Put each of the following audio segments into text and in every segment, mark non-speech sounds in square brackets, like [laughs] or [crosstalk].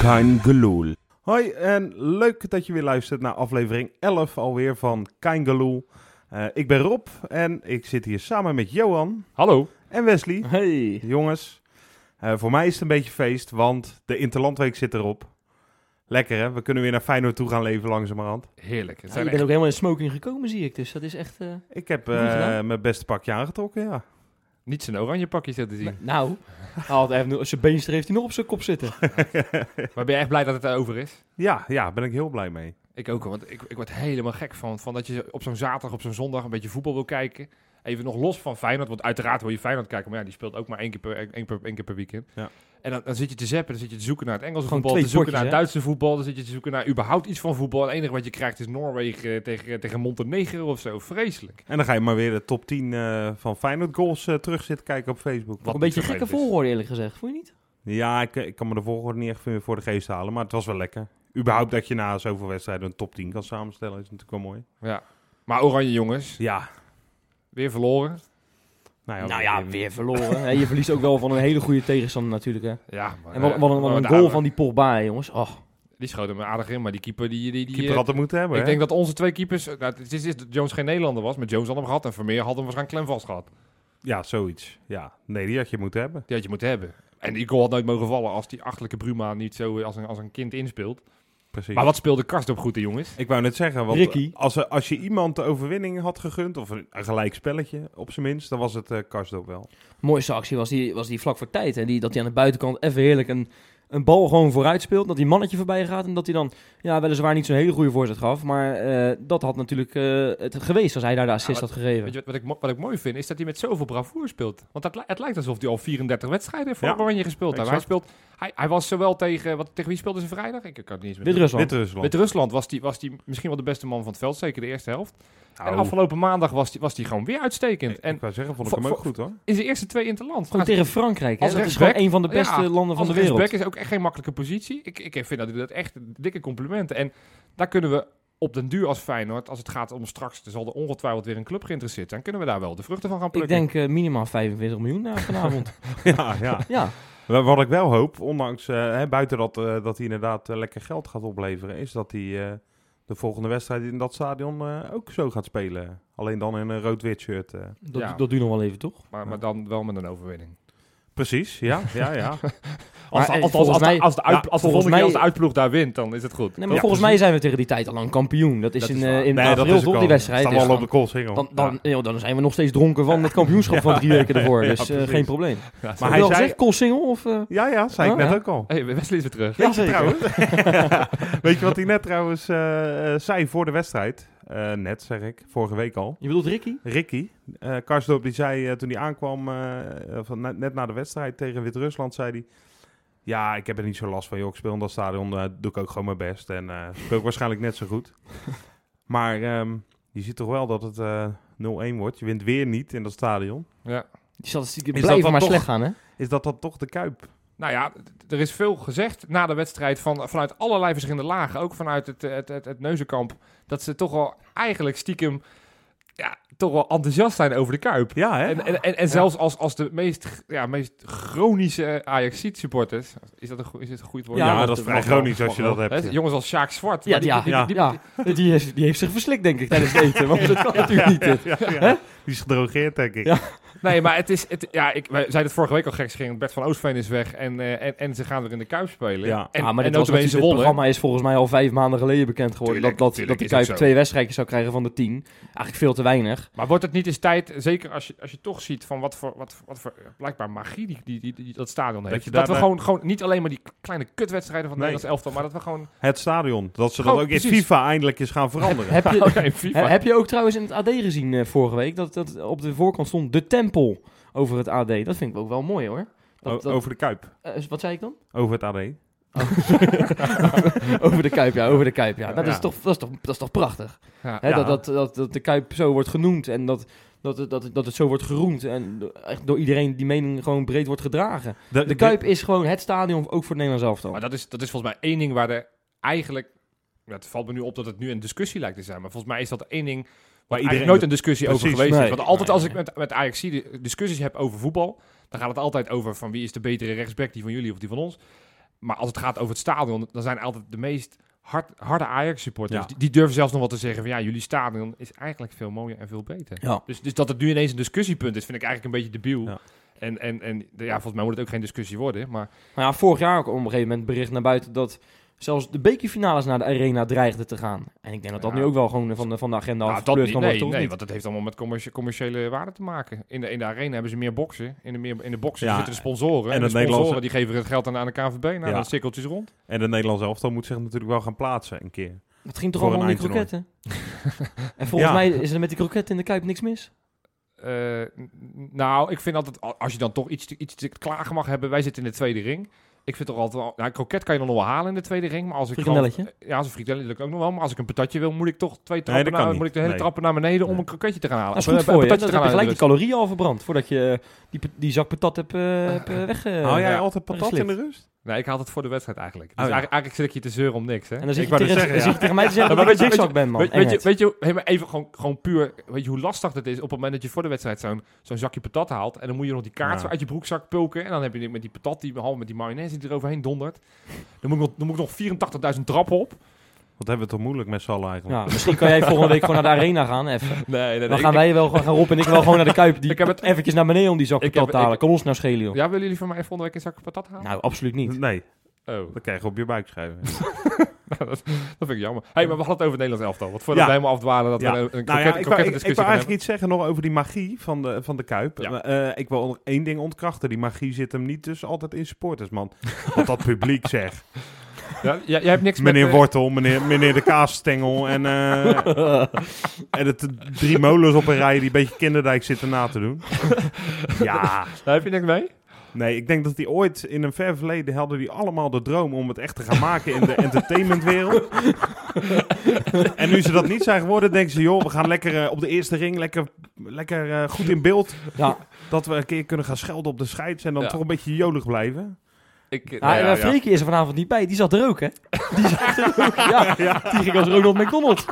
Kein Geloel. Hoi en leuk dat je weer luistert naar aflevering 11 alweer van Kein Geloel. Eh, ik ben Rob en ik zit hier samen met Johan Hallo. en Wesley. Hey. Jongens, eh, voor mij is het een beetje feest, want de Interlandweek zit erop. Lekker hè, we kunnen weer naar Feyenoord toe gaan leven langzamerhand. Heerlijk. Het Nou, zijn je bent ook helemaal in smoking gekomen, zie ik. Dus dat is echt... eh, Ik heb Goed eh, gedaan. mijn beste pakje aangetrokken, ja. echt niet zijn oranje pakjes te zien. nou, hij had even, nog- zijn beenster heeft hij nog op zijn kop zitten. Maar ben je echt blij dat het erover is? Ja, ja, ben ik heel blij mee. Ik ook, hoor, want ik, ik word helemaal gek van, van dat je op zo'n zaterdag, op zo'n zondag een beetje voetbal wil kijken. Even nog los van Feyenoord, want uiteraard wil je Feyenoord kijken, maar ja, die speelt ook maar één keer per, één per, één keer per weekend. Ja. En dan, dan zit je te zappen, dan zit je te zoeken naar het Engelse Gewoon voetbal, te twee zoeken naar potjes, het Duitse voetbal, dan zit je te zoeken naar überhaupt iets van voetbal. Het enige wat je krijgt is Noorwegen eh, tegen, tegen Montenegro of zo. Vreselijk. En dan ga je maar weer de top 10 eh, van Feyenoord goals eh, terug zitten kijken op Facebook. Wat een beetje niet gekke vervelend is. volgorde, eerlijk gezegd. Vond je niet? Ja, ik, ik kan me de volgorde niet echt meer voor de geest halen, maar het was wel lekker. Überhaupt dat je na zoveel wedstrijden een top 10 kan samenstellen, is natuurlijk wel mooi. Ja. Maar Oranje jongens, Ja. weer verloren. Nou ja, nou ja, weer verloren. Hè, je verliest ook wel van een hele goede tegenstander natuurlijk. Hè. Ja, maar, En wat, eh, wat een, wat maar een de goal oude- van die Pogba, hè, jongens. Och, Die schoot hem aardig in, maar die keeper die... die, die keeper eh, had het moeten hebben, ik hè? denk dat onze twee keepers... Nou, het is, is dat Jones geen Nederlander was, maar Jones had hem gehad. En Vermeer had hem waarschijnlijk klem vast gehad. Ja, zoiets. Ja, nee, die had je moeten hebben. Die had je moeten hebben. En die goal had nooit mogen vallen als die achterlijke Bruma niet zo eh, als een, als een kind inspeelt. Precies. Maar wat speelde Kast op goed, hè, jongens? Ik wou net zeggen, want Ricky. Als, er- als je iemand de overwinning had gegund, of een, een gelijk spelletje op zijn minst, dan was het eh Karsdorp wel. mooiste actie was die, was die vlak voor tijd. Hè. Die, dat hij aan de buitenkant even heerlijk een, een bal gewoon vooruit speelt. Dat die mannetje voorbij gaat. En dat hij dan ja, weliswaar niet zo'n hele goede voorzet gaf. Maar eh, dat had natuurlijk eh, het geweest als hij daar de assist Ja, had gegeven. Weet je wat, wat, ik, mo- wat ik mooi vind, is dat hij met zoveel bravoer speelt. Want dat, li- het lijkt alsof hij al 34 wedstrijden voor Ja, Oranje gespeeld heeft. Hij, exact. speelt, hij, hij was zowel tegen... Wat, tegen wie speelde ze vrijdag? Ik kan het niet eens meer... Wit-Rusland. Wit-Rusland. Met Rusland was hij was die misschien wel de beste man van het veld, zeker de eerste helft. Nou, En afgelopen maandag was hij was die gewoon weer ik, uitstekend. En ik wou zeggen, vond ik Vo- hem ook vo- goed [laughs] hoor. in zijn eerste twee interland. Gewoon tegen Frankrijk. Hè. Als Dat is rechtsback- gewoon een van de beste Ja, landen van Als de wereld. rechtsback is ook echt geen makkelijke positie. Ik, ik vind dat, dat echt dikke complimenten. En daar kunnen we op den duur als Feyenoord, als het gaat om straks, er zal er ongetwijfeld weer een club geïnteresseerd zijn, kunnen we daar wel de vruchten van gaan Ik plukken. denk eh, minimaal 45 miljoen na vanavond. ja, ja. ja. Wa- Wat ik wel hoop, ondanks eh, hè, buiten dat, eh, dat hij inderdaad eh, lekker geld gaat opleveren, is dat hij eh, de volgende wedstrijd in dat stadion eh, ook zo gaat spelen. Alleen dan in een rood-wit shirt. eh. Dat, Ja. dat duurt nog wel even, toch? maar, maar dan wel met een overwinning. Precies, ja, ja, ja. Als, eh, als, als, volgens als de- mij- als de, uit, ja, als de volgens volgende keer als mij- de uitploeg daar wint, dan is het goed. Nee, maar Ja, volgens precies. mij zijn we tegen die tijd al lang kampioen. Dat is Dat in, is eh, [laughs] waar. in Nee, april is ook toch, al. die wedstrijd. Staan Dus we al op dan- de koolsingel. dan, dan, joh, dan zijn we nog steeds dronken [laughs] van het kampioenschap van drie weken ervoor. Dus eh, geen probleem. Ja, Maar Maar hij hij zei- gezegd, Koolsingel of... eh Ja, ja, ja zei ik Oh, net ja. ook al. hey, Wesley is weer [laughs] terug. ja, Trouwens, [laughs] weet je wat hij net trouwens eh, eh, zei voor de wedstrijd? Eh, net, zeg ik, vorige week al. Je bedoelt Ricky? Ricky, eh Karsdorp, die zei eh, toen hij aankwam, eh, eh, van, net, net na de wedstrijd tegen Wit-Rusland, zei hij... Ja, ik heb er niet zo last van, joh. Ik speel in dat stadion, eh, doe ik ook gewoon mijn best. En eh speel ik [laughs] waarschijnlijk net zo goed. Maar ehm, je ziet toch wel dat het eh, 0-1 wordt. Je wint weer niet in dat stadion. Ja. Die statistieken Is dat blijven dan maar toch- slecht gaan, hè? Is dat dan toch de Kuip? Nou ja, d- er is veel gezegd na de wedstrijd van, vanuit allerlei verschillende lagen. Ook vanuit het, eh, het, het, het Neuzenkamp. Dat ze toch wel eigenlijk stiekem ja, toch wel enthousiast zijn over de Kuip. Ja, hè? En, en, en, en zelfs als, als de meest, g- ja, meest chronische Ajaxiet supporters. Is dat een, go- is het een goed woord? ja, Ja, dat, dat is mag vrij wel, chronisch als je dat Hè, hebt. jongens als Sjaak Zwart. Ja, maar die, ja, die, ja. die- Die, heeft, die heeft zich verslikt, denk ik, [laughs] tijdens het eten. Want dat kan natuurlijk niet. dit. Ja, ja. Die is gedrogeerd, denk ik. Ja. Nee, maar het is... Het, ja, ik wij zeiden het vorige week al gek. Ze gingen- Bert van Oostveen is weg. En, eh, en, en ze gaan weer in de Kuip spelen. Ja. en, ah, maar dit was en notabene natuurlijk- ze het wonnen. programma is volgens mij al vijf maanden geleden bekend geworden. Tuurlijk, dat, dat, tuurlijk, dat is de ook Kuip zo. twee wedstrijdjes zou krijgen van de tien. Eigenlijk veel te weinig. Maar wordt het niet eens tijd, zeker als je, als je toch ziet van wat voor, wat, wat voor eh, blijkbaar magie die, die, die, die dat stadion heeft. Dat, je we daarna- gewoon, gewoon niet alleen maar die kleine kutwedstrijden van het Nee. Nederlands elftal, maar dat we gewoon... Het stadion. Dat ze dat Oh, ook in precies. FIFA eindelijk eens gaan veranderen. Heb je, [laughs] Oké, He- FIFA. heb je ook trouwens in het AD gezien eh, vorige week dat, dat op de voorkant stond de tempel over het AD? Dat vind ik ook wel mooi hoor. Dat, O- dat- Over de Kuip. eh, wat zei ik dan? [laughs] Over het AD. over de Kuip, ja, over de Kuip, ja. Dat, Ja. Is, toch, dat, is, toch, dat is toch prachtig? Ja. Hè, Ja. dat, dat, dat, dat de Kuip zo wordt genoemd en dat, dat, dat, dat, dat het zo wordt geroemd. En do- echt door iedereen die mening gewoon breed wordt gedragen. De Kuip is gewoon het stadion ook voor het Nederlands elftal. Maar dat is, dat is volgens mij één ding waar er eigenlijk... Ja, het valt me nu op dat het nu een discussie lijkt te zijn, maar volgens mij is dat één ding waar iedereen- iedereen nooit een discussie over Precies, geweest nee. is. Want altijd Nee, als ik met, met Ajax discussies heb over voetbal, dan gaat het altijd over van wie is de betere rechtsback, die van jullie of die van ons. Maar als het gaat over het stadion, dan zijn altijd de meest hard, harde Ajax-supporters. Ja. Die, die durven zelfs nog wat te zeggen van ja, jullie stadion is eigenlijk veel mooier en veel beter. Ja. Dus, dus dat het nu ineens een discussiepunt is, vind ik eigenlijk een beetje debiel. Ja. En, en, en de- ja, volgens mij moet het ook geen discussie worden. Maar Nou ja, vorig jaar kwam op een gegeven moment bericht naar buiten dat zelfs de bekerfinales naar de arena dreigden te gaan. En ik denk dat dat Ja. nu ook wel gewoon van de, van de agenda Nou, dat afgepleurd niet, kan nee, worden, toch? nee, Niet? want dat heeft allemaal met commerci- commerciële waarde te maken. In de, in de arena hebben ze meer boksen. In de, meer, in de boksen Ja, zitten de sponsoren. en En, dat de sponsoren Nederlandse- die geven het geld aan, aan de KNVB. Nou, Ja. dan cirkeltjes rond. En de Nederlandse elftal moet zich natuurlijk wel gaan plaatsen een keer. Het ging toch Voor allemaal om die een kroketten? en volgens [laughs] Ja. mij is er met die kroketten in de Kuip niks mis. Eh, n- nou, ik vind altijd, al- als je dan toch iets, te- iets te klagen mag hebben, wij zitten in de tweede ring. Ik vind toch altijd, wel- nou, kroket kan je dan nog wel halen in de tweede ring, maar als ik gewoon, Frikandelletje? ja, als een frikandelletje lukt ook nog wel, maar als ik een patatje wil, moet ik toch twee dat trappen, kan naar, niet. moet ik de hele Nee. trappen naar beneden om Nee. een kroketje te gaan halen. Dat is Of goed een- voor een je. patatje dus. Dan te heb je gaan gelijk halen die in de calorieën al verbrand voordat je eh, die, pa- die zak patat hebt eh, hebt, eh, weg... eh, Hou jij ja. altijd patat in de rust? rust. Nee, ik haal het voor de wedstrijd eigenlijk. Dus Oh, ja. eigenlijk, eigenlijk zit ik je te zeuren om niks, hè. En dan Ik zit, je wou tegen, net zeggen, dan ja. zit je tegen mij te zeggen Ja, dat ik maar een weet je- zigzag ben, man. weet, weet je, Engert. weet je, hey, maar even gewoon, gewoon puur, weet je hoe lastig dat is op het moment dat je voor de wedstrijd zo'n zo'n zakje patat haalt en dan moet je nog die kaart Ja. zo uit je broekzak pulken en dan heb je dit met die patat, die half met die mayonaise die eroverheen dondert. Dan moet ik nog, dan moet ik nog 84.000 trappen op. Wat hebben we toch moeilijk met z'n allen eigenlijk. Ja, misschien kan jij volgende week gewoon naar de arena gaan. Even. Nee, nee, Dan gaan wij wel gewoon gaan Rob en ik wel gewoon naar de Kuip. Die [laughs] Ik heb het- eventjes naar beneden om die zak Ik patat heb- te halen. ik- Kom ons nou schelen, joh. Ja, willen jullie van mij volgende week een zakje patat halen? Nou, absoluut [laughs] niet. Nee, Oh, [laughs] dat krijg je op je buik Nou schrijven. dat, dat vind ik jammer. hey, maar we hadden het over het Nederlands elftal. Wat voor dat Ja. we helemaal afdwalen dat Ja. we een, Nou een kroket- ja, ik wou, kroketten ik, ik discussie wou gaan eigenlijk iets zeggen nog over die magie van de, van de Kuip. Ja. Eh, ik wil nog één ding ontkrachten. Die magie zit hem niet dus altijd in supporters, man. Want dat publiek zegt. hebben. Ja, jij, jij hebt niks met... Meneer eh, Wortel, meneer, meneer de Kaasstengel en, eh, en het drie molens op een rij die een beetje kinderdijk zitten na te doen. ja, daar heb je niks mee? nee, ik denk dat die ooit in een ver verleden hadden die allemaal de droom om het echt te gaan maken [laughs] in de entertainmentwereld. en nu ze dat niet zijn geworden, denken ze, joh, we gaan lekker eh, op de eerste ring, lekker, lekker eh, goed in beeld. Ja, Dat we een keer kunnen gaan schelden op de scheids en dan Ja. toch een beetje jolig blijven. Ik, Ah, eh, Ja, nou en ja, ja. Freekje is er vanavond niet bij. Die zat er [laughs] ook, hè? Die zat er ook, ja. Die ging als Ronald McDonald.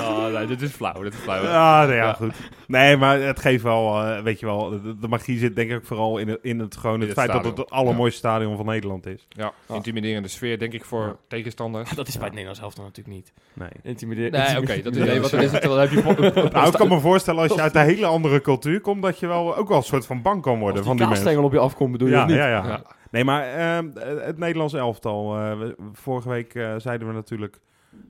Oh, nee, dit is flauw, dit is flauw. Ja, nou ja, Ja. goed. Nee, maar het geeft wel, eh, weet je wel, de, de magie zit denk ik vooral in het, in het, gewoon het, In het feit dat stadion. het het allermooiste stadion van Nederland is. Ja, intimiderende sfeer, denk ik, voor tegenstanders. Dat is bij het Nederlands elftal natuurlijk niet. Nee. Intimiderend. Nee, oké, [laughs] dat is nee, wat er is. Het, dan heb je po- po- Nou, ik kan me voorstellen als je uit een hele andere cultuur komt, dat je wel ook wel een soort van bang kan worden van die mensen. op je afkomt, bedoel je Ja, of niet? ja, ja, Ja. Nee, maar ehm, het Nederlands elftal. eh, we- vorige week eh, zeiden we natuurlijk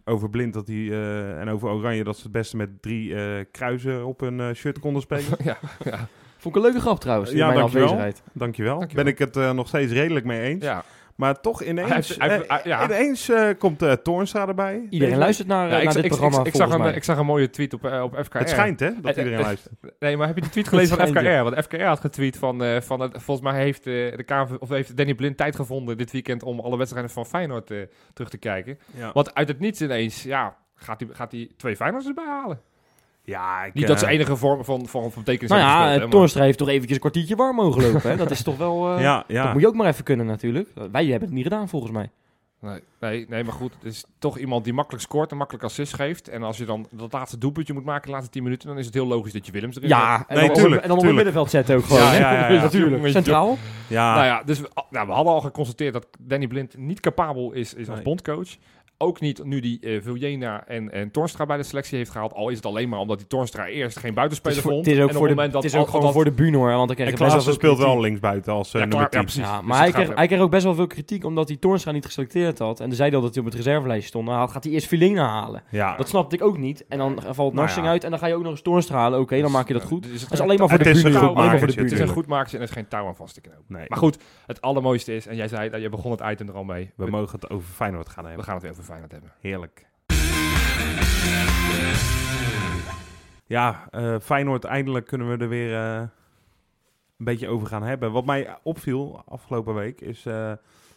over Blind dat hij, eh, en over Oranje dat ze het beste met drie eh, kruisen op hun eh, shirt konden spelen. ja, ja, Vond ik een leuke grap trouwens, in Ja, mijn dankjewel. afwezigheid. Dankjewel. Dankjewel. Ben ik het eh, nog steeds redelijk mee eens. ja. Maar toch Hij ineens, heeft- hij heeft- eh, hij- ja. ineens eh, komt eh Toornstra erbij. Iedereen Deze- luistert naar, Ja, eh, ik, naar dit ik- ik- programma, ik, zag volgens een, mij. ik zag een mooie tweet op, eh, op FKR. Het schijnt hè, dat Eh, iedereen eh, luistert. Nee, maar heb je die tweet gelezen van [laughs] Het schijnt, FKR? Want FKR had getweet van, eh, van het- volgens mij heeft, eh, de KNV of heeft Danny Blind tijd gevonden dit weekend om alle wedstrijden van Feyenoord eh, terug te kijken. Ja, Want uit het niets ineens, ja, gaat hij gaat hij twee Feyenoords erbij halen. ja ik, Niet eh, dat ze enige vorm van, van, van betekenis Nou hebben ja, gespeeld, eh, hè, maar- Toornstra heeft toch eventjes een kwartiertje warm mogen lopen, hè? Dat is toch wel... eh, Ja, Dat ja. moet je ook maar even kunnen natuurlijk. Wij hebben het niet gedaan, volgens mij. Nee, nee, nee, maar goed, het is toch iemand die makkelijk scoort en makkelijk assist geeft. En als je dan dat laatste doelpuntje moet maken, de laatste 10 minuten, dan is het heel logisch dat je Willems erin zet. Ja, en Nee, dan, tuurlijk, op, en dan op tuurlijk. het middenveld zetten ook gewoon. Ja, hè? ja, ja, ja. Natuurlijk. Jongens, Centraal. ja. Nou ja, dus we, ah, nou, we hadden al geconstateerd dat Danny Blind niet capabel is, is als Nee. bondcoach. Ook niet nu die eh Viljena en, en Tornstra bij de selectie heeft gehaald. Al is het alleen maar omdat die Tornstra eerst geen Het is, buitenspeler voor, vond. het is ook, en voor de, moment dat het is ook al- gewoon dat- voor de bühne hoor. Want dan kreeg En je best Klaassen wel veel speelt wel kritiek. links buiten als eh, Ja, nummer klaar, ja, 10. precies. Ja, maar Dus hij, het kreeg, gaat- hij kreeg ook best wel veel kritiek omdat hij Toornstra niet geselecteerd had. En zeiden al dat hij op het reservelijstje stond. Nou, gaat hij eerst Filena halen. Ja. Dat snapte ik ook niet. En dan valt Narsing ja. uit en dan ga je ook nog eens Toornstra halen. Oké, dan Dus, maak je dat eh, goed. dus Dat is alleen maar voor Het de is bühne. een Rob. goed Alleen maar voor de makertje, Het is bühne. een Tuurlijk. goed maakje en het is geen touw aan vast te knopen. Nee. Maar goed, het allermooiste is, en jij zei, je begon het item er al mee. We We, mogen het over Feyenoord gaan we hebben. gaan het weer over Feyenoord hebben. Heerlijk. Ja, eh, Feyenoord, eindelijk kunnen we er weer eh, een beetje over gaan hebben. Wat mij opviel afgelopen week is eh,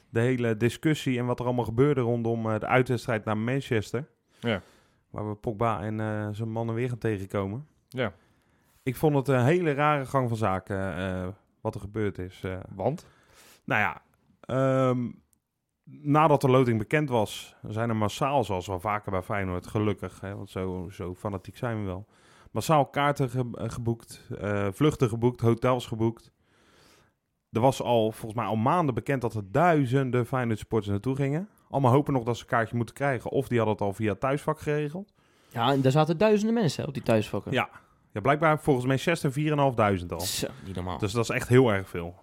de hele discussie en wat er allemaal gebeurde rondom eh, de uitwedstrijd naar Manchester. Ja. Waar we Pogba en eh, zijn mannen weer gaan tegenkomen. Ja. Ik vond het een hele rare gang van zaken eh, wat er gebeurd is. eh, Want? nou ja, ehm, nadat de loting bekend was, zijn er massaal, zoals wel vaker bij Feyenoord, gelukkig, hè, want zo, zo fanatiek zijn we wel, massaal kaarten ge- eh, geboekt, eh, vluchten geboekt, hotels geboekt. Er was al volgens mij al maanden bekend dat er duizenden Feyenoord supporters naartoe gingen. Allemaal hopen nog dat ze een kaartje moeten krijgen. Of die hadden het al via het thuisvak geregeld. Ja, en daar zaten duizenden mensen hè, op die thuisvakken. Ja. Ja, blijkbaar volgens Manchester 4.500 al. Zo, Nou, niet normaal. Dus dat is echt heel erg veel.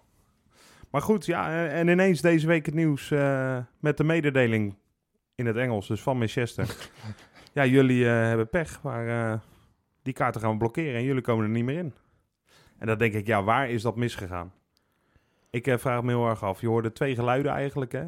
Maar goed, ja, eh, en ineens deze week het nieuws eh, met de mededeling in het Engels, dus van Manchester. ja, jullie eh, hebben pech, maar eh, die kaarten gaan we blokkeren en jullie komen er niet meer in. En dan denk ik, ja, waar is dat misgegaan? Ik eh, vraag me heel erg af. Je hoorde twee geluiden eigenlijk, hè?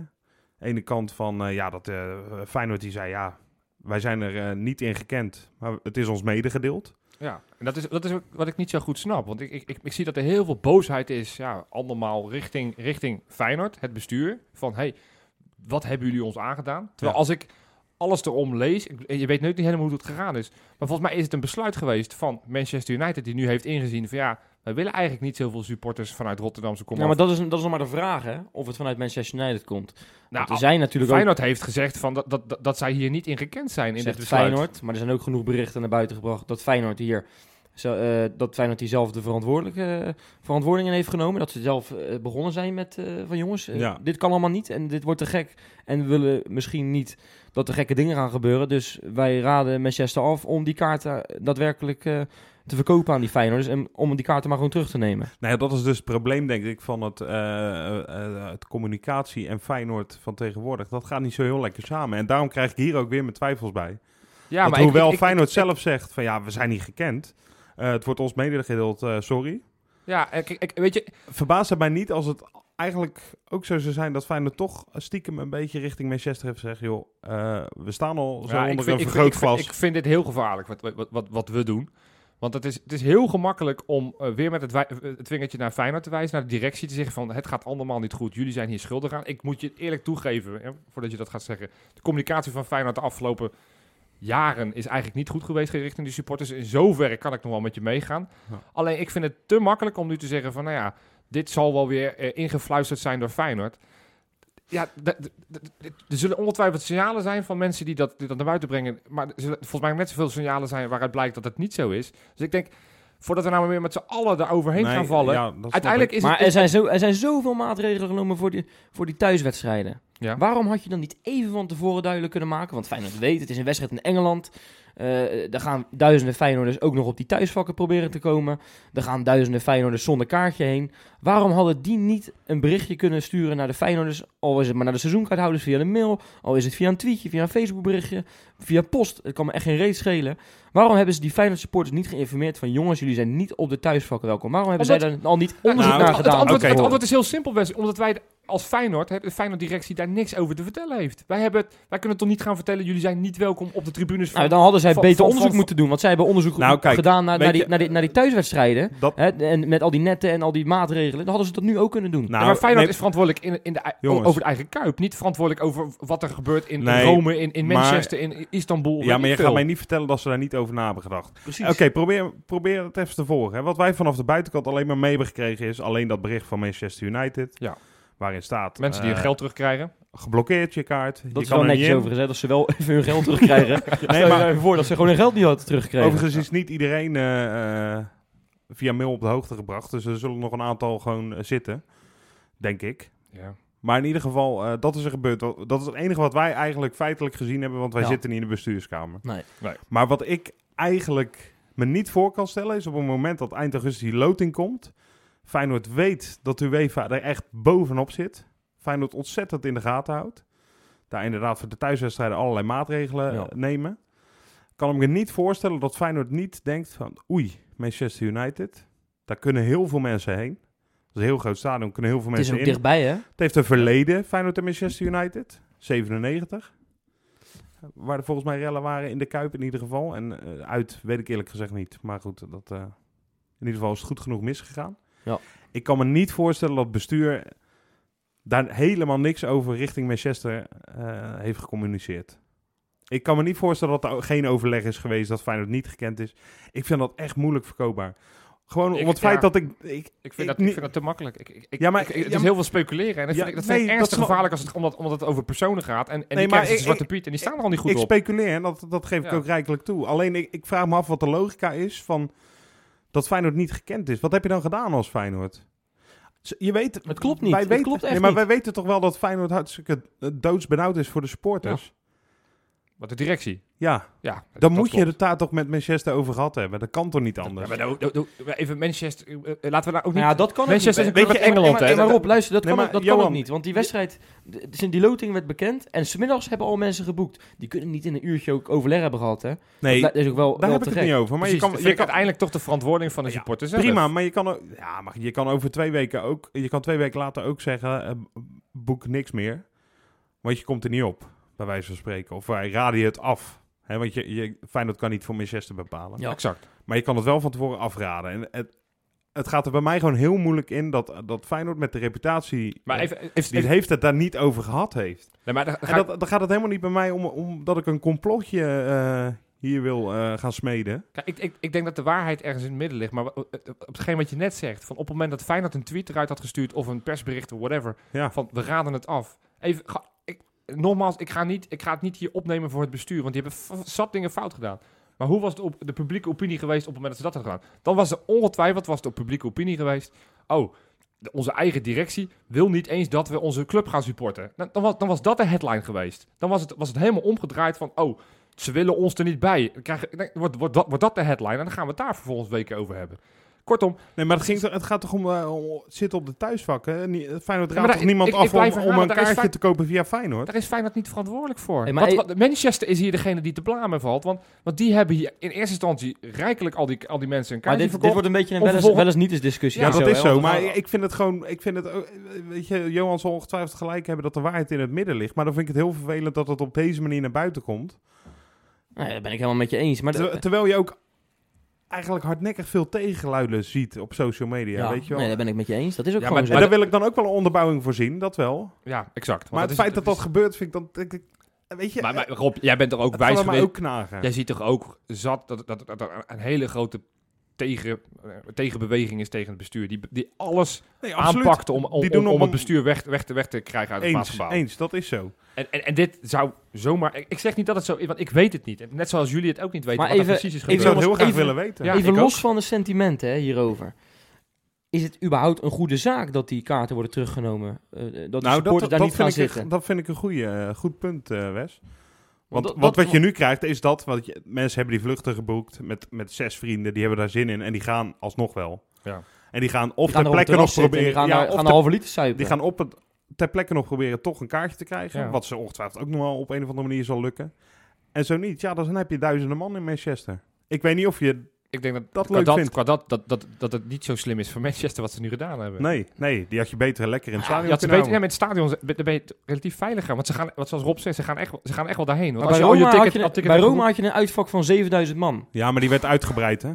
Aan de ene kant van, eh, ja, dat eh Feyenoord die zei, ja, wij zijn er eh, niet in gekend, maar het is ons medegedeeld. Ja, en dat is, dat is ook wat ik niet zo goed snap. Want ik, ik, ik, ik zie dat er heel veel boosheid is. Ja, andermaal richting, richting Feyenoord, het bestuur. Van, hé, hey, wat hebben jullie ons aangedaan? Terwijl Ja. als ik alles erom lees, ik- je weet nooit niet helemaal hoe het gegaan is. Maar volgens mij is het een besluit geweest van Manchester United... die nu heeft ingezien van, ja, wij willen eigenlijk niet zoveel supporters vanuit Rotterdamse Kom Ja, maar dat is, dat is nog maar de vraag, hè? Of het vanuit Manchester United komt. nou, Want er zijn natuurlijk ook Feyenoord heeft gezegd van dat, dat, dat, dat zij hier niet in gekend zijn in dit zegt besluit. Feyenoord, maar er zijn ook genoeg berichten naar buiten gebracht dat Feyenoord hier zo, eh, dat Feyenoord hier zelf de verantwoordelijke eh, verantwoording in heeft genomen, dat ze zelf eh, begonnen zijn met eh, van jongens, eh, Ja. dit kan allemaal niet en dit wordt te gek en we willen misschien niet dat er gekke dingen gaan gebeuren, dus wij raden Manchester af om die kaarten daadwerkelijk eh, te verkopen aan die Feyenoorders en om die kaarten maar gewoon terug te nemen. Nou ja, dat is dus het probleem, denk ik, van het, eh, eh, het communicatie en Feyenoord van tegenwoordig. Dat gaat niet zo heel lekker samen. En daarom krijg ik hier ook weer mijn twijfels bij. Ja, Want maar ik- hoewel ik- ik- Feyenoord ik- zelf zegt van ja, we zijn niet gekend. eh, het wordt ons medegedeeld, eh, sorry. Ja, ik, ik, weet je, Verbaast het mij niet als het eigenlijk ook zo zou zijn dat Feyenoord toch stiekem een beetje richting Manchester heeft gezegd... joh, eh, we staan al zo Ja, onder vind- een vind- vergrootglas. Ik, vind- ik vind dit heel gevaarlijk, wat, wat, wat, wat we doen. Want het is, het is heel gemakkelijk om eh, weer met het, wij- eh, het vingertje naar Feyenoord te wijzen, naar de directie te zeggen van het gaat allemaal niet goed, jullie zijn hier schuldig aan. Ik moet je eerlijk toegeven, hè, voordat je dat gaat zeggen, de communicatie van Feyenoord de afgelopen jaren is eigenlijk niet goed geweest richting de supporters. In zoverre kan ik nog wel met je meegaan. Ja. Alleen ik vind het te makkelijk om nu te zeggen van nou ja, dit zal wel weer eh, ingefluisterd zijn door Feyenoord. Ja, d- d- d- d- er zullen ongetwijfeld signalen zijn van mensen die dat, die dat naar buiten brengen. Maar er zullen volgens mij net zoveel signalen zijn waaruit blijkt dat het niet zo is. Dus ik denk, voordat we nou maar weer met z'n allen daaroverheen Nee, gaan vallen. ja, dat snap uiteindelijk ik. is maar het... er zijn, zo, er zijn zoveel maatregelen genomen voor die, voor die thuiswedstrijden. Ja. Waarom had je dan niet even van tevoren duidelijk kunnen maken? Want Feyenoord weet, het is een wedstrijd in Engeland. Eh, daar gaan duizenden Feyenoorders ook nog op die thuisvakken proberen te komen. Er gaan duizenden Feyenoorders zonder kaartje heen. Waarom hadden die niet een berichtje kunnen sturen naar de Feyenoorders? Al is het maar naar de seizoenkaarthouders via een mail. Al is het via een tweetje, via een Facebookberichtje, via post. Het kan me echt geen reet schelen. Waarom hebben ze die Feyenoord supporters niet geïnformeerd van... jongens, jullie zijn niet op de thuisvakken welkom. Waarom hebben Omdat- zij daar al niet onderzoek Nou, naar het, gedaan? antwoord, Oké. het antwoord is heel simpel, Wes. Omdat wij als Feyenoord, hè, de Feyenoord-directie, daar niks over te vertellen heeft. Wij, hebben het, wij kunnen toch niet gaan vertellen, jullie zijn niet welkom op de tribunes van... Nou, dan hadden zij Van- beter van- onderzoek van- moeten doen. Want zij hebben onderzoek Nou, kijk, gedaan naar, weet naar, die, je- naar, die, naar die thuiswedstrijden. Dat, Hè, en met al die netten en al die maatregelen. Dan hadden ze dat nu ook kunnen doen. nou, ja, maar Feyenoord nee, is verantwoordelijk in, in de, ei- Jongens. over de eigen kuip. Niet verantwoordelijk over wat er gebeurt in, in Nee, Rome, in, in maar- Manchester, in Istanbul. ja, weet maar ik je veel. gaat mij niet vertellen dat ze daar niet over na hebben gedacht. precies. Oké, probeer, probeer het even te volgen. Hè. Wat wij vanaf de buitenkant alleen maar mee hebben gekregen is alleen dat bericht van Manchester United. Ja. Waarin staat... Mensen die eh, hun geld terugkrijgen. Geblokkeerd je kaart. je Dat is kan wel er niet netjes in. overigens. Hè, dat ze wel [laughs] even hun geld [laughs] terugkrijgen. nou Nee, maar even voor dat ze gewoon hun geld niet hadden teruggekregen. overigens is niet iedereen eh, eh, via mail op de hoogte gebracht. Dus er zullen nog een aantal gewoon eh, zitten. Denk ik. Ja. Maar in ieder geval, eh, dat is er gebeurd. Dat dat is het enige wat wij eigenlijk feitelijk gezien hebben. Want wij Ja. zitten niet in de bestuurskamer. Nee. Nee. Maar wat ik eigenlijk me niet voor kan stellen... is op het moment dat eind augustus die loting komt... Feyenoord weet dat UEFA er echt bovenop zit. Feyenoord ontzettend in de gaten houdt. Daar inderdaad voor de thuiswedstrijden allerlei maatregelen Ja. eh, nemen. Kan ik me niet voorstellen dat Feyenoord niet denkt van... oei, Manchester United, daar kunnen heel veel mensen heen. Dat is een heel groot stadion, kunnen heel veel het is mensen ook in. dichtbij, hè? Het heeft een verleden, Feyenoord en Manchester United. 97. Waar er volgens mij rellen waren in de Kuip in ieder geval. En eh, uit weet ik eerlijk gezegd niet. Maar goed, dat, eh, in ieder geval is het goed genoeg misgegaan. Ja. Ik kan me niet voorstellen dat bestuur daar helemaal niks over richting Manchester eh, heeft gecommuniceerd. Ik kan me niet voorstellen dat er geen overleg is geweest, dat Feyenoord niet gekend is. Ik vind dat echt moeilijk verkoopbaar. Gewoon Ik- om het feit ja. dat ik... ik Ik Ik vind, dat, niet- ik vind dat te makkelijk. Ik, ik, ik- Ja, maar- ik- ik- het ja, is heel veel speculeren. En dat Ja, vind ik, dat vind ik nee, ernstig dat snap- gevaarlijk als het, omdat, omdat het over personen gaat. En, en maar die krijgen ik- een zwarte piet en die staan er al niet goed ik op. speculeer en dat, dat geef ik Ja. ook rijkelijk toe. Alleen ik, ik vraag me af wat de logica is van dat Feyenoord niet gekend is. Wat heb je dan gedaan als Feyenoord? Ze- Je weet, Het klopt niet. Wij Het weten, klopt echt nee, maar niet. wij weten toch wel dat Feyenoord hartstikke eh, doodsbenauwd is voor de supporters. Wat de directie. Ja, Ja, dan dat moet je klopt. het daar toch met Manchester over gehad hebben. Dat kan toch niet anders? Ja, maar nou- nou- nou- even Manchester. eh, eh, laten we nou ook niet. Nou ja, dat kan ook Manchester niet. is een club uit Engeland, maar, hè? maar Rob, luister, dat, Nee, kan, maar ook, dat kan Johan- ook niet. Want die wedstrijd, de- de- die loting werd bekend en smiddags hebben al mensen geboekt. Die kunnen niet in een uurtje ook overleg hebben gehad, hè? nee, dat is ook wel, daar wel heb te ik gek. het niet over. Maar Precies, je dat kan, vind je ik kan, uiteindelijk toch de verantwoording van de Ja, supporters zelf. prima, maar je kan, ook- ja, maar je kan over twee weken ook, je kan twee weken later ook zeggen, eh, boek niks meer. Want je komt er niet op, bij wijze van spreken. Of wij raden je het af. Hè, want je, je, Feyenoord kan niet voor Manchester bepalen. Ja. Exact. Maar je kan het wel van tevoren afraden. En het, het gaat er bij mij gewoon heel moeilijk in dat, dat Feyenoord met de reputatie Maar eh, even, even, even- die het heeft, het daar niet over gehad heeft. nee, maar dan ga En ik- dat, dan gaat het helemaal niet bij mij om, om dat ik een complotje eh, hier wil eh, gaan smeden. Kijk, ik, ik, ik denk dat de waarheid ergens in het midden ligt. Maar wa- eh, eh, op hetgeen wat je net zegt, van op het moment dat Feyenoord een tweet eruit had gestuurd of een persbericht of whatever, Ja. van we raden het af. Even, ga- ik, nogmaals, ik ga, niet, ik ga het niet hier opnemen voor het bestuur, want die hebben f- zat dingen fout gedaan. Maar hoe was de, op, de publieke opinie geweest op het moment dat ze dat hadden gedaan? Dan was er ongetwijfeld was de publieke opinie geweest. Oh, de- onze eigen directie wil niet eens dat we onze club gaan supporten. Nou, Dan, dan, was, dan was dat de headline geweest. Dan was het, was het helemaal omgedraaid van, oh, ze willen ons er niet bij. Dan krijg je- dan wordt, wordt, dat, wordt dat de headline en dan gaan we het daar vervolgens weken over hebben. Kortom, Nee, maar het, ging, toch- het gaat toch om, eh, om zitten op de thuisvak. Hè? Nie- Feyenoord Ja, raadt maar toch ik- niemand ik- ik af om- blijf om, herhalen, een daar is kaartje Fey- te kopen via Feyenoord? daar is Feyenoord niet verantwoordelijk voor. Hey, maar- Wat- wat- Manchester is hier degene die te blamen valt. Want, want die hebben hier in eerste instantie rijkelijk al die, al die mensen een Maar kaartje dit, dit verkocht. wordt een beetje een Om wel eens, wel vervolgens- eens niet eens discussie. Ja, en dat is hè, zo. want Maar dan- ik vind het gewoon... Ik vind het, ook- weet je, Johan zal ongetwijfeld gelijk hebben dat de waarheid in het midden ligt. Maar dan vind ik het heel vervelend dat het op deze manier naar buiten komt. Nee, dat ben ik helemaal met je eens. Maar de- Ter- terwijl je ook eigenlijk hardnekkig veel tegengeluiden ziet op social media. ja, weet je wel? Nee, dat ben ik dus met je eens. Dat is ook Ja, gewoon maar- En zo. daar wil ik dan ook wel een onderbouwing voor zien, dat wel. Ja, exact. Want maar het is- feit dat dat gebeurt, vind ik dan... denk ik, weet je, Maar, eh, maar Rob, jij bent er ook het wijs kan mij geweest. ook knagen. Jij ziet toch ook zat dat, dat, dat er een hele grote tegen, eh, tegenbeweging is tegen het bestuur. Die, die alles nee, aanpakte om, om, Die om, doen om op het een- bestuur weg, weg, te, weg te krijgen uit het Eens, plaatsgebouw. eens, dat is zo. En, en, en dit zou zomaar... Ik ik zeg niet dat het zo is, want ik weet het niet. En Net zoals jullie het ook niet weten Maar wat er even- precies is even- Ik gebeurd. zou het heel jongens, graag even- willen weten. Ja, Even ik los van de sentimenten hè, hierover. Is het überhaupt een goede zaak dat die kaarten worden teruggenomen? Eh, dat de supporters daar niet gaan Nou, vind ik, zitten? een- dat vind ik een goeie, eh, goed punt, eh, Wes. Want dat- wat, dat- wat je nu krijgt is dat, want je, mensen hebben die vluchten geboekt met, met zes vrienden, die hebben daar zin in en die gaan alsnog wel. Ja. En die gaan Die of ter gaan er op plekke het nog terras zitten en proberen, Die gaan, ja, daar- of gaan ter- een halve liter suipen. die gaan op het, ter plekke nog proberen toch een kaartje te krijgen, Ja. wat ze ongetwijfeld ook nog wel op een of andere manier zal lukken. En zo niet, ja, dan heb je duizenden man in Manchester. Ik weet niet of je... Ik denk dat, Dat qua, leuk dat, vindt. qua dat, dat, dat, dat het niet zo slim is voor Manchester wat ze nu gedaan hebben. Nee, nee, die had je beter lekker in het Je stadion had ze kunnen beter, ja, houden. met stadions ben- dan ben je t- relatief veiliger. Want ze gaan, wat zoals Rob zegt, ze gaan echt, wel- ze gaan echt wel daarheen. Want Maar als bij je al Roma, je ticket, had je, al een- ticket bij hebt Roma had je een uitvak van 7000 man. Ja, maar die werd uitgebreid, hè?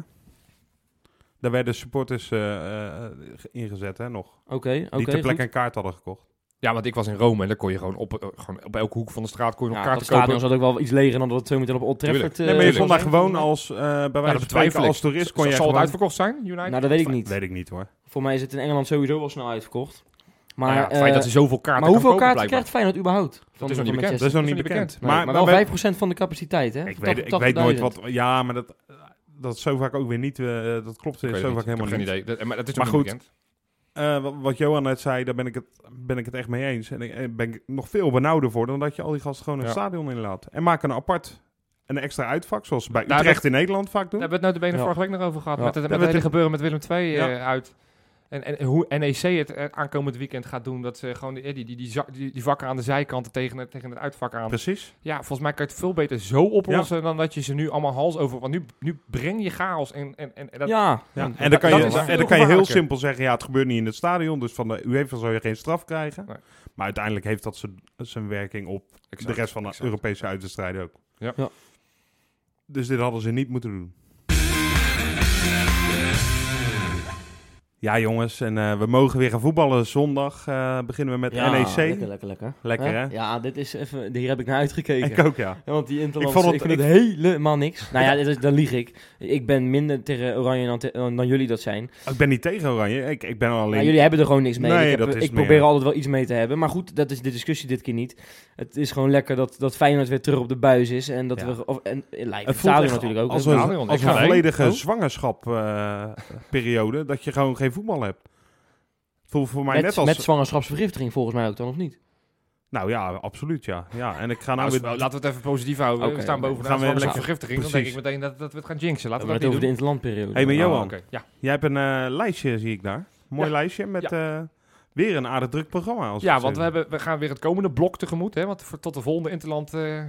Daar werden supporters eh, eh, ingezet, hè, nog. Oké, oké. die ter goed. plekke een kaart hadden Eh, gekocht. Ja, want ik was in Rome en dan kon je gewoon op, eh, gewoon op elke hoek van de straat kon je nog Ja, kaarten dat kopen. stadion zat ook wel iets leger dan dat het zo meteen op Old Trafford... Tuurlijk. eh, nee, maar je kon zou daar zijn. gewoon als, eh, bij Ja, wijze van dat betwijfel spreken, ik. als toerist kon Zal je het gewoon... uitverkocht zijn, United? Nou, dat weet ik niet. Weet ik niet, hoor. Voor mij is het in Engeland sowieso wel snel uitverkocht. Maar, Maar Nou ja, het feit eh, dat ze zoveel kaarten maar hoeveel kan kopen, kaarten krijgt blijkbaar. Feyenoord überhaupt? Van, is van nog niet bekend. Dat is nog Manchester? is niet nog niet bekend. dus- bekend. Maar, Maar, maar wel we- 5% van de capaciteit, hè? ik, weet, ik weet nooit wat... Ja, maar dat, eh, dat is zo vaak ook weer niet... eh, dat klopt Ik in weet zo vaak het niet. Ik heb helemaal geen niet. idee. Dat, maar dat is Maar nog niet goed. bekend. Eh, wa- wat Johan net zei, daar ben ik het, ben ik het echt mee eens. En ik eh, ben ik nog veel benauwder voor dan dat je al die gasten gewoon een Ja. stadion inlaat. En maak een apart, een extra uitvak, zoals ze bij Daar Utrecht in Nederland vaak Daar doen. hebben we het nou de benen Ja. vorige week nog over gehad. Ja. Met het, Hm? Ja, met het met hele de- gebeuren met Willem II eh, Ja. uit. En, en hoe NEC het eh, aankomend weekend gaat doen. Dat ze gewoon die, die, die, die, za- die, die vakken aan de zijkanten tegen, het- tegen het uitvak aan. Precies. Ja, volgens mij kan je het veel beter zo oplossen dan dat je ze nu allemaal hals over... Want nu, nu breng je chaos en, en, en, en dat... Ja. Ja. Ja. En dan kan, dat je, is wel en dan kan veel je heel gevaarlijker. simpel zeggen, ja, het gebeurt niet in het stadion, dus van de UEFA zal je geen straf krijgen. Nee. Maar uiteindelijk heeft dat zijn- zijn werking op de rest van de exact. Europese uitwedstrijden ook. Ja. Ja. Dus dit hadden ze niet moeten doen. Ja, jongens, en eh, we mogen weer gaan voetballen. Zondag eh, beginnen we met Ja, NEC. Lekker, lekker, lekker. Lekker, Ja? hè? Ja, dit is even... Hier heb ik naar uitgekeken. Ik ook, ja. Ja, want die Interlands, Ik ik vond vond het- het, helemaal niks. Nou ja, dat, is- dan lieg ik. Ik ben minder tegen Oranje dan, te- dan, dan jullie dat zijn. Maar Ik ben niet tegen Oranje. Ik, ik ben alleen... jullie hebben er gewoon niks mee. Nee, ik heb- dat is ik meer- probeer altijd wel iets mee te hebben. Maar goed, dat is de discussie dit keer niet. Het is gewoon lekker dat, dat Feyenoord weer terug op de buis is. En dat Ja. we... Of, en, en lijkt Het het voelt stadion echt natuurlijk ook. als hè. een- een, Stadion, als ik een eh, ga heen. volledige Oh. eh, zwangerschapperiode. periode dat je gewoon geen voetbal hebt. Voor, voor mij met, net als... met zwangerschapsvergiftiging volgens mij ook dan, of niet? nou ja, absoluut ja. ja. En ik ga nou Nou, weer... wel- laten we het even positief houden. Oké, we staan oké. bovenaan. Gaan we Gaan we lekker- vergiftiging. Dan denk Precies. ik meteen dat, dat we het gaan jinxen. We Laten we hebben dat het niet over de doen. interlandperiode. Hey, maar Ah, Johan. Oh, oké. Ja, Jij hebt een eh, lijstje, zie ik daar. Mooi Ja. lijstje met eh, weer een aardig druk programma. Als ik ja het eh, want zo we, hebben, we gaan weer het komende blok tegemoet. Hè, want voor, tot de volgende Interland eh,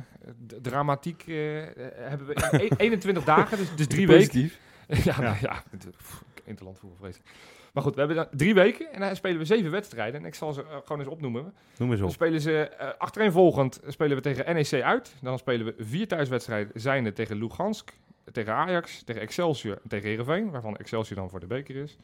d- dramatiek eh, eh, hebben we eh, e- [laughs] 21 dagen, dus, dus drie weken. [laughs] ja, nou ja. het- pff, Interland voetbal vreselijk. Maar goed, we hebben dan drie weken en dan spelen we zeven wedstrijden. En ik zal ze eh, gewoon eens opnoemen. Noem eens Dan op. spelen ze eh, achtereenvolgend spelen we tegen NEC uit. Dan spelen we vier thuiswedstrijden zijnde tegen Lugansk, tegen Ajax, tegen Excelsior en tegen Heerenveen, waarvan Excelsior dan voor de beker is.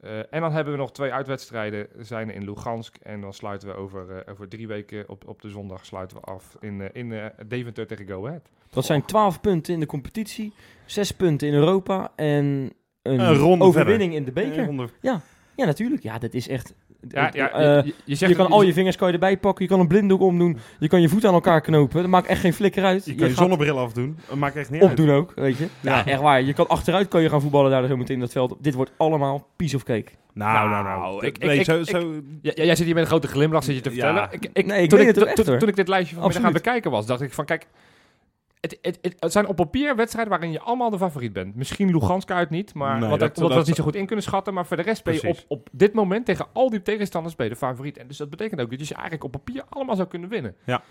Eh, en dan hebben we nog twee uitwedstrijden zijnde in Lugansk. En dan sluiten we over, eh, over drie weken op, op de zondag sluiten we af in, eh, in eh, Deventer tegen Go Ahead. Dat zijn 12 punten in de competitie, 6 punten in Europa en een Een ronde overwinning in de beker. Eh, onder- Ja, natuurlijk. Ja, dat is echt... Ja, ja, Eh, je- je, je zegt je kan al je vingers kan je erbij pakken, je kan een blinddoek omdoen, je kan je voet aan elkaar knopen. Dat maakt echt geen flikker uit. Je kan je gaat zonnebril afdoen. Dat maakt echt niet uit. opdoen ook, weet je. Ja. Ja. echt waar. Je kan achteruit kan je gaan voetballen daar zo meteen in dat veld. Dit wordt allemaal piece of cake. Nou, nou, nou. ik- ik- nee, ik- zo, ik- zo, Ja, ja, jij zit hier met een grote glimlach zit je te Ja. vertellen. Ik, ik, Nee, ik toen, meen ik, het ook toen- echt, hoor. toen ik dit lijstje van gaan Absoluut. bekijken was, dacht ik van kijk, het, het, het, het zijn op papier wedstrijden waarin je allemaal de favoriet bent. Misschien Lugansk uit niet, maar Nee, want dat- dat, omdat dat- we dat niet zo goed in kunnen schatten. Maar voor de rest ben je op, Precies. op dit moment tegen al die tegenstanders ben je de favoriet. En dus dat betekent ook dat je ze eigenlijk op papier allemaal zou kunnen winnen. Ja.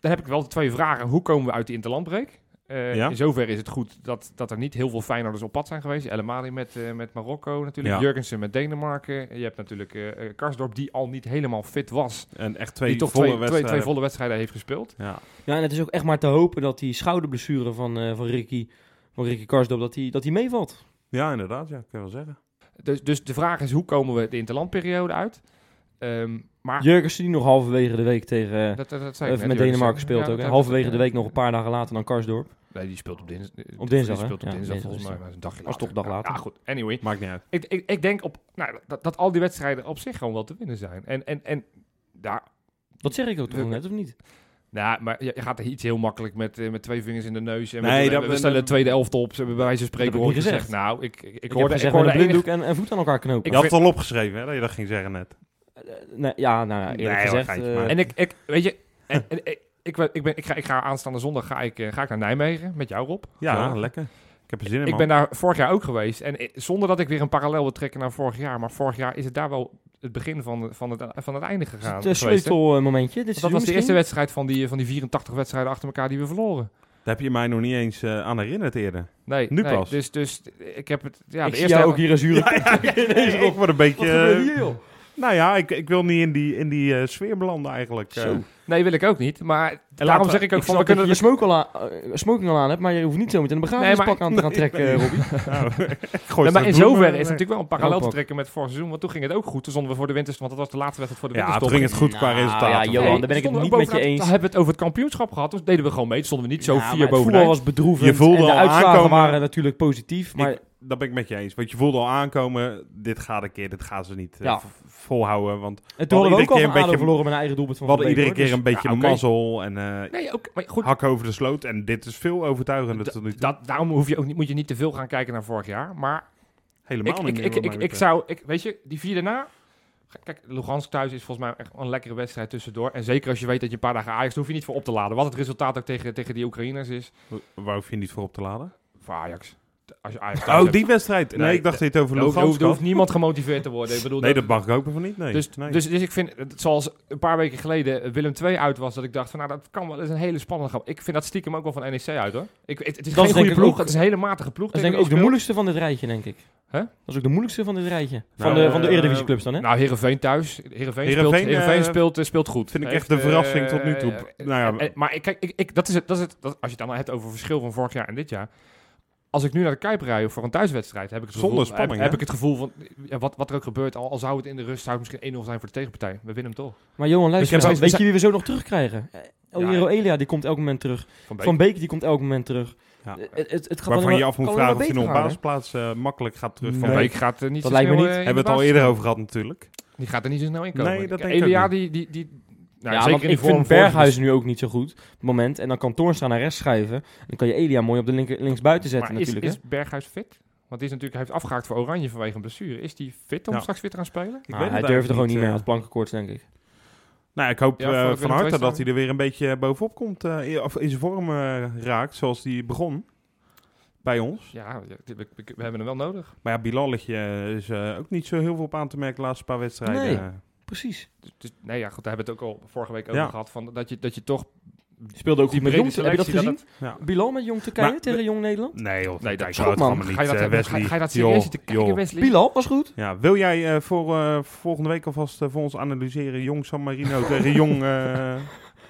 Dan heb ik wel de twee vragen. Hoe komen we uit de interlandbreek? Eh, Ja. In zoverre is het goed dat, dat er niet heel veel Feyenoorders op pad zijn geweest. El Amadi met, eh, met Marokko natuurlijk. Ja. Jurgensen met Denemarken. Je hebt natuurlijk eh, eh, Karsdorp die al niet helemaal fit was. en echt twee die toch volle twee, twee, twee wedstrijden. volle wedstrijden heeft gespeeld. ja. Ja, en het is ook echt maar te hopen dat die schouderblessure van, eh, van Ricky, van Ricky Karsdorp, dat die, dat die meevalt. ja, inderdaad. Ja, kan je wel zeggen. Dus, dus de vraag is, hoe komen we de interlandperiode uit? Ehm, maar Jurgensen die nog halverwege de week tegen... eh, dat, dat, dat zei Even ik net, met Jurgensen. Denemarken speelt Ja, dat ook. hè. heb- Halverwege de week nog een paar dagen later dan Karsdorp. Nee, die speelt op dinsdag. Op dinsdag, Die hè? speelt op Ja, dinsdag dinsdag volgens is mij, het. maar dat is een dagje Dat is later. toch een dag later. Ja, goed. Anyway, Maakt niet uit. ik, ik, ik denk op, nou, dat, dat al die wedstrijden op zich gewoon wel te winnen zijn. En, en, en daar, Dat zeg ik ook toch We- net, of niet? nou, maar je, je gaat er iets heel makkelijk met, eh, met twee vingers in de neus. En Nee, met, dat- we stellen de tweede elft op, ze hebben bij wijze van heb spreken ik niet horen gezegd. gezegd. Nou, ik, ik, Ik ik hoorde, hoorde ik gezegd hoorde met een enig- blinddoek en, en voet aan elkaar knopen. Ik je had vind- het al opgeschreven, hè, dat je dat ging zeggen net. Eh, nee, ja, nou ja, eerlijk Nee, hoor, gezegd. geintje, eh, maar- En ik, ik weet je, en, en- ik, ik, ben- ik, ben, ik, ga, ik ga aanstaande zondag ga ik, eh, ga ik naar Nijmegen met jou, Rob. Ja, Zo. lekker. Ik heb er zin in, Ik ben daar vorig jaar ook geweest. En eh, zonder dat ik weer een parallel wil trekken naar vorig jaar. Maar vorig jaar is het daar wel het begin van, van, het, van het einde is gegaan. het eh, geweest, hè? sleutelmomentje. Dit Want dat was de seizoen eerste misschien? wedstrijd van die, van die 84 wedstrijden achter elkaar die we verloren. Daar heb je mij nog niet eens eh, aan herinnerd [laughs] eerder. Nee, Nu nee, pas. Dus, dus ik heb het. Ja, Ik de zie eerste jou ook [laughs] hier een zure kop. Nee, ik word een beetje... [laughs] Wat gebeurt eh, hier, joh? nou ja, ik, ik wil niet in die, in die eh, sfeer belanden eigenlijk. eh. Zo. Nee, wil ik ook niet. Maar daarom laten we- zeg ik ook Ik van we snap dat je kunnen. je smoke al aan- eh, smoking al aan hebt, maar je hoeft niet zo meteen een begrafenispak Nee, aan te gaan trekken, nee. Robby. Nou, [laughs] ik gooi Nee, maar in straks eh, bloemen zoverre is weg. het natuurlijk wel een parallel te Roodpak. trekken met vorig seizoen. Want toen ging het ook goed. Toen stonden we voor de winter. Want dat was de laatste wedstrijd voor de Ja, toen winterstop. ging het goed qua Nou, resultaat. ja, Johan, daar ben ik het Stonden we niet ook met je bovenaan. eens. Dan hebben we het over het kampioenschap gehad. Dus deden we gewoon mee. Toen stonden we niet zo Ja, maar vier het voetbal bovenuit. was bedroevend Je voelde en de al uitslagen aankomen. waren natuurlijk positief, maar Ik- dat ben ik met je eens. Want je voelde al aankomen, dit gaat een keer, dit gaan ze niet eh, Ja. v- volhouden. Want en we toen hadden we iedere ook al keer van een beetje- ADO verloren met een eigen doelpunt we van Van hadden Beek, iedere hoor. keer een beetje dus- ja, oké. mazzel en eh, Nee, ook, maar goed. hak over de sloot. En dit is veel overtuigender da- tot nu toe. dat, daarom hoef je ook niet, moet je niet te veel gaan kijken naar vorig jaar. Maar ik, Helemaal ik, niet ik, meer, ik, wat ik, mij ik betreft. zou, ik, weet je, die vier daarna. Kijk, Lugansk thuis is volgens mij echt wel een lekkere wedstrijd tussendoor. En zeker als je weet dat je een paar dagen Ajax, daar hoef je niet voor op te laden. Wat het resultaat ook tegen, tegen die Oekraïners is. Wa- Waar hoef je niet voor op te laden? Voor Ajax. Als je Ajax thuis Oh, hebt, die wedstrijd. Nee, Oh, Nee, ik dacht dat je het over daar hoeft- daar Lugansk hoeft, daar hoeft had. niemand gemotiveerd te worden. Ik bedoel, Nee, dat mag ik ook van niet. Nee. Dus, nee. dus, dus ik vind, het- zoals een paar weken geleden eh, Willem 2 uit was, dat ik dacht van nou, dat kan wel eens een hele spannende grap. Ik vind dat stiekem ook wel van NEC uit hoor. Ik, het, het is Dat is geen goede denk ik ploeg, ook- het is een hele matige ploeg. Dus Dat is denk tegen ik ook de wie je moeilijkste van dit rijtje, denk ik. Hè? Dat is ook de moeilijkste van dit rijtje. Van Nou, de, van de eh, Eredivisieclubs dan, hè? speelt. Nou, Heerenveen thuis. Heerenveen, speelt, Heerenveen, Heerenveen eh, speelt, eh, speelt goed. vind ik Heeft, echt de verrassing eh, tot nu toe. eh, Nou ja, eh, maar ik, kijk, ik, ik, dat is het, dat is het dat, als je het dan hebt over verschil van vorig jaar en dit jaar. Als ik nu naar de Kuip rij voor een thuiswedstrijd, heb ik het gevoel, Zonder spanning, heb, hè? heb ik het gevoel van ja, wat, wat er ook gebeurt. Al, al zou het in de rust, zou het misschien 1-0 zijn voor de tegenpartij. We winnen hem toch. Maar Johan, Ik heb luister, nou, zelfs- weet je wie we zo nog terugkrijgen? Eh, El Ja, Hierro Elia, die komt elk moment terug. Van Beek. Van Beek, die komt elk moment terug. Ja. Eh, Het, het, het gaat waarvan alleen je maar- af moet kan vragen alleen maar of hij nog op beter gaan, basisplaats eh, makkelijk gaat terug van Van Nee. Ah, Beek. Week gaat er niet Dat zo lijkt me snel, niet. eh, in Hebben we de het al basis eerder komen. over gehad natuurlijk. Die gaat er niet zo snel in komen. Nee, dat Kijk, denk ik Elia, ook die... die, die hè? nou, ja, zeker want in die ik vorm vind vorige- Berghuis nu ook niet zo goed op het moment. En dan kan Toornstra naar rechts schuiven. Dan kan je Elia mooi op de linker, linksbuiten Maar zetten is, natuurlijk. hè? is Berghuis fit? Want die is natuurlijk, hij heeft afgehaakt voor Oranje vanwege een blessure. Is die fit om Ja. straks weer te gaan spelen? Ik Nou, weet hij het durfde eigenlijk gewoon niet meer, hij eh. had plankenkoorts, denk ik. Nou, ik hoop Ja, eh, voor Willem van II harte staan. dat hij er weer een beetje bovenop komt. eh, in- of in zijn vorm eh, raakt, zoals die begon bij ons. Ja, ja, we, we- we hebben hem wel nodig. Maar ja, Bilalletje eh, is eh, ook niet zo heel veel op aan te merken de laatste paar wedstrijden. Nee. Eh, Precies. Dus, dus- nee, ja, goed, daar hebben we het ook al vorige week over Ja. gehad. Van, dat, je, dat je toch... Speelde ook Die goed met brede Jong. Heb je dat selectie, gezien? dat ja. Bilal met Jong Turkije Maar- tegen Jong Nederland? Nee, joh. Nee, dat kijk, is je ook, houdt het man. allemaal Ga je dat, niet, eh, hebben? ga, Wesley. ga je dat serieus Joh, zitten kijken, joh. Wesley? Bilal was goed. Ja, wil jij eh, voor eh, volgende week alvast eh, voor ons analyseren Jong San Marino tegen Jong, eh,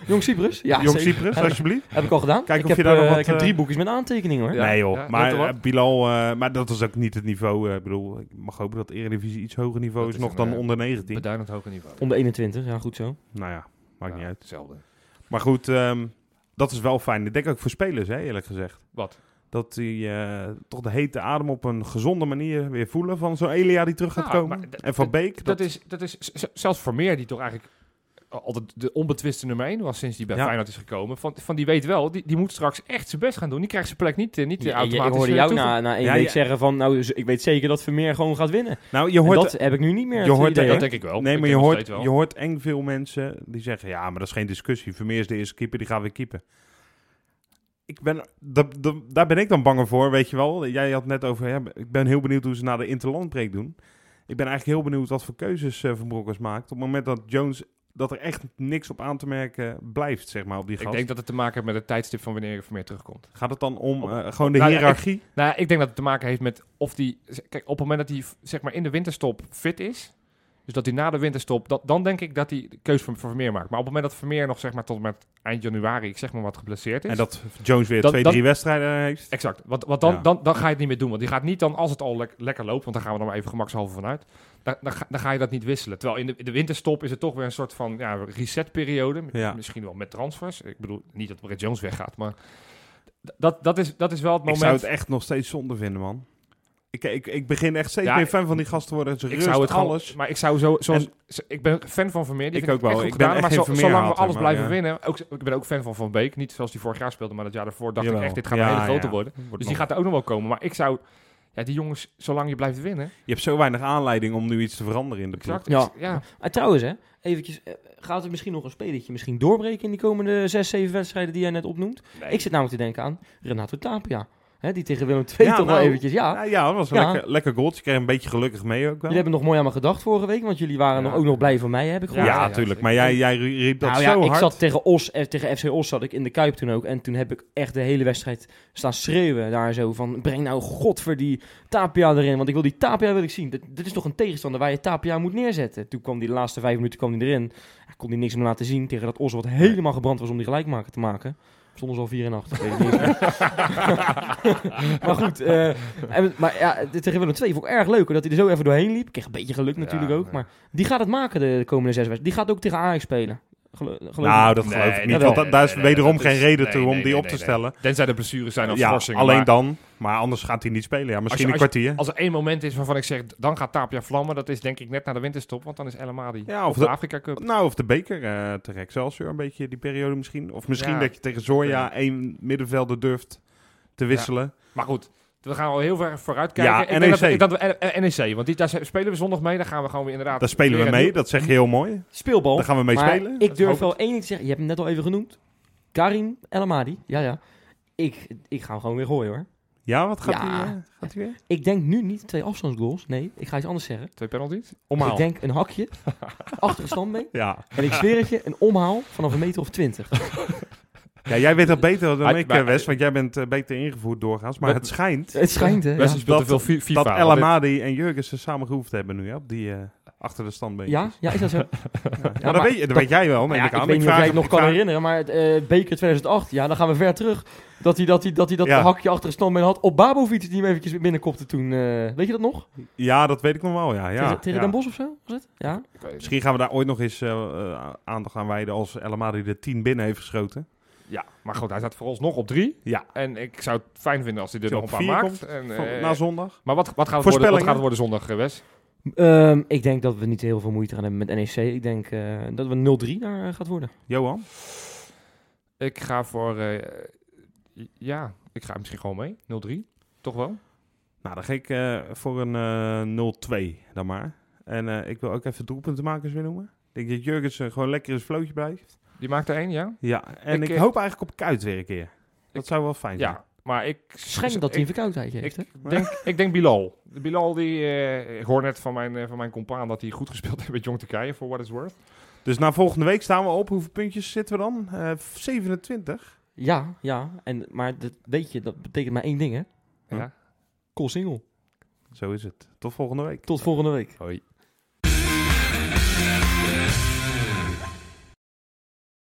Jong Cyprus? Ja, Jong zeker. Cyprus, Heb- alsjeblieft? Heb ik al gedaan. Kijk ik of je heb, daar nog eh, wat, ik heb eh, drie boekjes met aantekeningen hoor. Ja, nee joh, ja, maar dat er wat. eh, Bilal, eh, maar dat is ook niet het niveau. eh, Ik bedoel, ik mag hopen dat de Eredivisie iets hoger niveau Dat is is nog een, dan eh, onder 19. Beduidend hoger niveau. Om de 21, ja goed zo. Nou ja, maakt Ja, niet uit. Hetzelfde. Maar goed, ehm, dat is wel fijn. Ik denk ook voor spelers, hè, eerlijk gezegd. Wat? Dat die eh, toch de hete adem op een gezonde manier weer voelen van zo'n Elia die terug gaat Ja, komen. Nou, maar dat- En Van Beek. Dat is, dat is z- z- zelfs Vermeer, die toch eigenlijk altijd de onbetwiste nummer 1 was sinds die bij Ja. Feyenoord is gekomen. Van, van die weet wel, die, die moet straks echt zijn best gaan doen. Die krijgt zijn plek niet, eh, niet Ja, automatisch. ik hoorde eh, jou toege- na, na één Ja, week ja. zeggen van, nou z- ik weet zeker dat Vermeer gewoon gaat winnen. nou, je En hoort, dat heb ik nu niet meer. je hoort het idee. Dat dat- denk ik wel. Nee, Oh, Ik maar denk je nog hoort, steeds wel. je hoort eng veel mensen die zeggen: ja, maar dat is geen discussie. Vermeer is de eerste keeper, die gaat weer keeper. Ik ben, dat- dat- daar ben ik dan banger voor, weet je wel. Jij had net over: ja, ik ben heel benieuwd hoe ze na de interlandbreek doen. Ik ben eigenlijk heel benieuwd wat voor keuzes eh, Van Bronckhorst maakt. Op het moment dat Jones, dat er echt niks op aan te merken blijft, zeg maar, op die gast. Ik denk dat het te maken heeft met het tijdstip van wanneer Vermeer terugkomt. Gaat het dan om Op- eh, gewoon de Nou ja, hiërarchie? Nou, ik denk dat het te maken heeft met of die... Kijk, op het moment dat hij v- zeg maar in de winterstop fit is... Dus dat hij na de winterstop, dat, dan denk ik dat hij de keus voor, voor Vermeer maakt. Maar op het moment dat Vermeer nog zeg maar tot en met eind januari, ik zeg maar wat geblesseerd is. en dat Jones weer Dat- twee, dat- drie wedstrijden heeft. Exact. Want, want dan, Ja. dan, dan ga je het niet meer doen. Want die gaat niet dan, als het al lek- lekker loopt, want daar gaan we dan maar even gemakshalve vanuit. Dan, dan, ga, dan ga je dat niet wisselen. Terwijl in de, in de winterstop is het toch weer een soort van ja, resetperiode. M- Ja. Misschien wel met transfers. Ik bedoel, niet dat Brett Jones weggaat, maar d- dat, dat, is, dat is wel het Ik moment. zou het echt nog steeds zonde vinden, man. Ik, ik, ik begin echt steeds Ja, meer fan van die gast te worden. Ze ik rust, zou het gewoon- alles. maar ik zou zo, zoals, zo- ik ben fan van Vermeer. Die Ik vind ook wel. echt goed Ik ben gedaan, echt maar geen zo, zolang we Vermeer-hater, alles blijven maar, winnen. Ook, ik ben ook fan van Van Beek. Niet zoals die vorig jaar speelde, maar dat jaar daarvoor dacht Jawel. ik echt, dit gaat Ja, een hele grote ja. worden. Wordt Dus nog- die gaat er ook nog wel komen. Maar ik zou, ja, die jongens, zolang je blijft winnen. Je hebt zo weinig aanleiding om nu iets te veranderen in de ploeg. Exact. Ja. Ja. ja. Maar Ah, trouwens hè, eventjes, eh, gaat er misschien nog een spelletje misschien doorbreken in die komende zes, zeven wedstrijden die jij net opnoemt? Ik zit namelijk te denken aan Renato Tapia. Hè, die tegen Willem II Ja, toch wel nou, eventjes, ja. Ja, ja, dat was een Ja. lekker, lekker goaltje. Kreeg een beetje gelukkig mee ook wel. Jullie hebben nog mooi aan me gedacht vorige week, want jullie waren Ja. nog, ook nog blij van mij, heb ik Ja, gehoord. Ja, ja, tuurlijk. ja. Maar jij, jij riep dat nou zo ja, ik hard. zat tegen, Os, eh, tegen FC Os zat ik in de Kuip toen ook. En toen heb ik echt de hele wedstrijd staan schreeuwen daar zo van... Breng nou godver die Tapia erin, want ik wil die Tapia wil ik zien. Dit, dit is toch een tegenstander waar je Tapia moet neerzetten. Toen kwam die de laatste vijf minuten kwam die erin. Ja, kon die niks meer laten zien tegen dat Os wat helemaal gebrand was om die gelijkmaker te maken. Stonden ze al 4 en 8. [laughs] maar goed, eh, en, maar ja, dit tegen Willem 2 vond ik erg leuk hoor, dat hij er zo even doorheen liep. Ik kreeg een beetje geluk natuurlijk Ja, ook, ja. maar die gaat het maken de komende zes wedstrijden. Die gaat ook tegen Ajax spelen. Gelo- geloof Nou, ik. dat geloof Nee, ik niet. nee, Want nee, da- daar is nee, wederom dat geen is- reden nee, toe om nee, die nee, op te nee, stellen. Tenzij de blessures zijn of Ja, schorsingen. alleen maar dan. Maar anders gaat hij niet spelen. Ja, misschien als je- een kwartier. Als er één moment is waarvan ik zeg, dan gaat Tapia vlammen. Dat is denk ik net na de winterstop, want dan is El Amadi Ja, of op de, de- Afrika Cup. Nou, of de beker eh tegen Excelsior een beetje die periode misschien. Of misschien Ja. dat je tegen Zorja één middenvelder durft te wisselen. Maar goed, we gaan al heel ver vooruit kijken. Ja, E Ik denk dat we- NEC. ik- Dat, we, eh, eh, NEC, want die, daar spelen we zondag mee. Daar gaan we gewoon weer inderdaad... Daar spelen we weer mee. een- Dat zeg je heel mooi. Oh, Speelbal. Daar gaan we mee maar spelen. Ik durf hoop wel één ding te zeggen. Je hebt hem net al even genoemd. Karim El Amadi. Ja, ja. Ik, ik ga hem gewoon weer gooien hoor. Ja, wat gaat hij Ja. eh, gaat hij weer? Ik denk nu niet twee afstandsgoals. Nee, ik ga iets anders zeggen. Twee penalties? Ik Omhaal. denk een [laughs] hakje. achter een standbeen. Ja. En ik zweer het je, een omhaal vanaf een meter of twintig. Ja, jij weet dat beter dan Hij- ik, maar- eh, Wes, want jij bent eh, beter ingevoerd doorgaans. Maar Maar- het schijnt Het schijnt hè. Ja, Wesley speelt te Dat- veel fi- FIFA. dat El want dit- Amadi en Jurgensen samen gehoefd hebben nu, ja, op die eh, achter de standbeen. ja, ja, is [laughs] dat zo? ja, maar- dat, weet, je- dat weet jij wel, Oh, neem Nou ja, ik aan. ik weet niet of vraag jij het nog ik kan vraag- herinneren, maar het, eh, Beker 2008, ja, dan gaan we ver terug. Dat hij dat, hij, dat, hij dat Ja. hakje achter een standbeen had op Babovic, die hem eventjes binnenkopte toen. eh, weet je dat nog? Ja, dat weet ik nog wel, ja. ja, tegen tegen ja. Den Bos of zo, was het? Ja. Ik weet het niet. Misschien gaan we daar ooit nog eens eh, eh, aandacht aan wijden als El Amadi de 10 binnen heeft geschoten. Ja, maar goed, hij staat voor ons nog op drie. Ja. En ik zou het fijn vinden als hij er Zo nog een op paar vier maakt. komt, en, Van- eh, na zondag. maar wat, wat, gaat het worden, wat Voorspellingen? gaat het worden zondag, eh, Wes? Ehm, ik denk dat we niet heel veel moeite gaan hebben met NEC. Ik denk eh, dat we 0-3 daar eh, gaat worden. Johan? Ik ga voor. eh, ja, ik ga misschien gewoon mee. 0-3. Toch wel? Nou, dan ga ik eh, voor een eh 0-2 dan maar. En eh, ik wil ook even doelpuntenmakers weer noemen. Ik denk dat Jurgensen gewoon lekker in zijn vlootje blijft. Die maakt er één, ja? Ja, en Ik, ik, eh, hoop eigenlijk op Kuit weer een keer. Dat ik- zou wel fijn zijn. Ja, maar ik... Schijn dat hij een ik, verkoudheid heeft. hè? hè? ik, denk, ik denk Bilal. De Bilal, die, eh, ik hoor net van mijn, eh, van mijn compaan dat hij goed gespeeld heeft met Jong Turkije, voor what it's worth. Dus na volgende week staan we op. Hoeveel puntjes zitten we dan? Eh, 27. Ja, ja. En, maar dat, weet je, dat betekent maar één ding, hè? Hm. Ja. Cool single. Zo is het. Tot volgende week. Tot volgende week. Hoi.